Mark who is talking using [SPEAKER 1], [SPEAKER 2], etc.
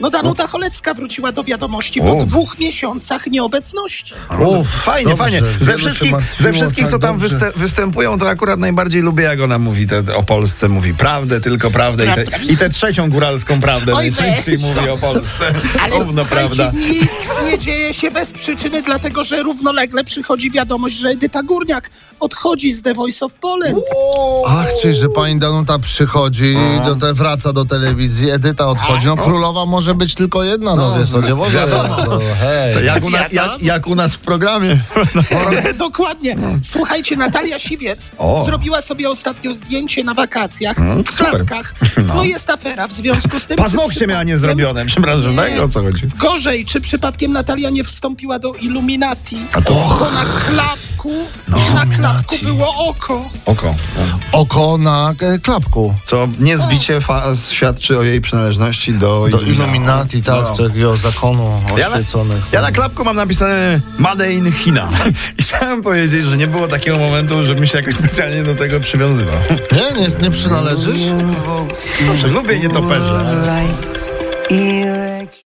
[SPEAKER 1] No Danuta Cholecka wróciła do wiadomości po
[SPEAKER 2] O.
[SPEAKER 1] dwóch miesiącach nieobecności.
[SPEAKER 2] Uff, fajnie,
[SPEAKER 3] dobrze,
[SPEAKER 2] fajnie.
[SPEAKER 3] wielu
[SPEAKER 2] Ze
[SPEAKER 3] się
[SPEAKER 2] wszystkich,
[SPEAKER 3] martwiło,
[SPEAKER 2] ze wszystkich co
[SPEAKER 3] tak,
[SPEAKER 2] tam
[SPEAKER 3] dobrze.
[SPEAKER 2] wyste- występują, to akurat najbardziej lubię, jak ona mówi te, o Polsce. Mówi prawdę, tylko prawdę. I
[SPEAKER 1] Prawda.
[SPEAKER 2] tę i te trzecią góralską prawdę
[SPEAKER 1] Oj,
[SPEAKER 2] najczęściej
[SPEAKER 1] weź, no.
[SPEAKER 2] mówi o Polsce.
[SPEAKER 1] Ale
[SPEAKER 2] Równo prawda.
[SPEAKER 1] słuchajcie, nic nie dzieje się bez przyczyny, dlatego że równolegle przychodzi wiadomość, że Edyta Górniak odchodzi z The Voice of Poland.
[SPEAKER 3] Ach, czyli że pani Danuta przychodzi, do te, wraca do telewizji, Edyta odchodzi.
[SPEAKER 2] Tak?
[SPEAKER 3] No królowa może być tylko jedna, no, wiesz, to nie może. No, hej.
[SPEAKER 2] To jak, u na, jak, jak u nas w programie.
[SPEAKER 1] Dokładnie. Słuchajcie, Natalia Siwiec
[SPEAKER 2] O. Hmm,
[SPEAKER 1] zrobiła sobie ostatnio zdjęcie na wakacjach w
[SPEAKER 2] super.
[SPEAKER 1] klapkach. No. jest afera w związku z tym.
[SPEAKER 2] Paznokcie
[SPEAKER 1] czy
[SPEAKER 2] miała nie
[SPEAKER 1] przypadkiem-
[SPEAKER 2] zrobione, przepraszam, tak? O co chodzi?
[SPEAKER 1] Gorzej, czy przypadkiem Natalia nie wstąpiła do Illuminati?
[SPEAKER 2] to- No,
[SPEAKER 1] Bo na klapku, na klapku było oko.
[SPEAKER 2] Oko.
[SPEAKER 3] No. Oko na e, klapku.
[SPEAKER 2] Co niezbicie fa- świadczy o jej przynależności do,
[SPEAKER 3] Do Illuminati, tak, takiego zakonu
[SPEAKER 2] no. Ja na,
[SPEAKER 3] oświeconych.
[SPEAKER 2] ja na klapku mam napisane Made in China. I chciałem powiedzieć, że nie było takiego momentu, żebym się jakoś specjalnie do tego przywiązywał.
[SPEAKER 3] Nie, nie, nie przynależysz?
[SPEAKER 2] Proszę, lubię nietoperze.
[SPEAKER 4] Lights, eerie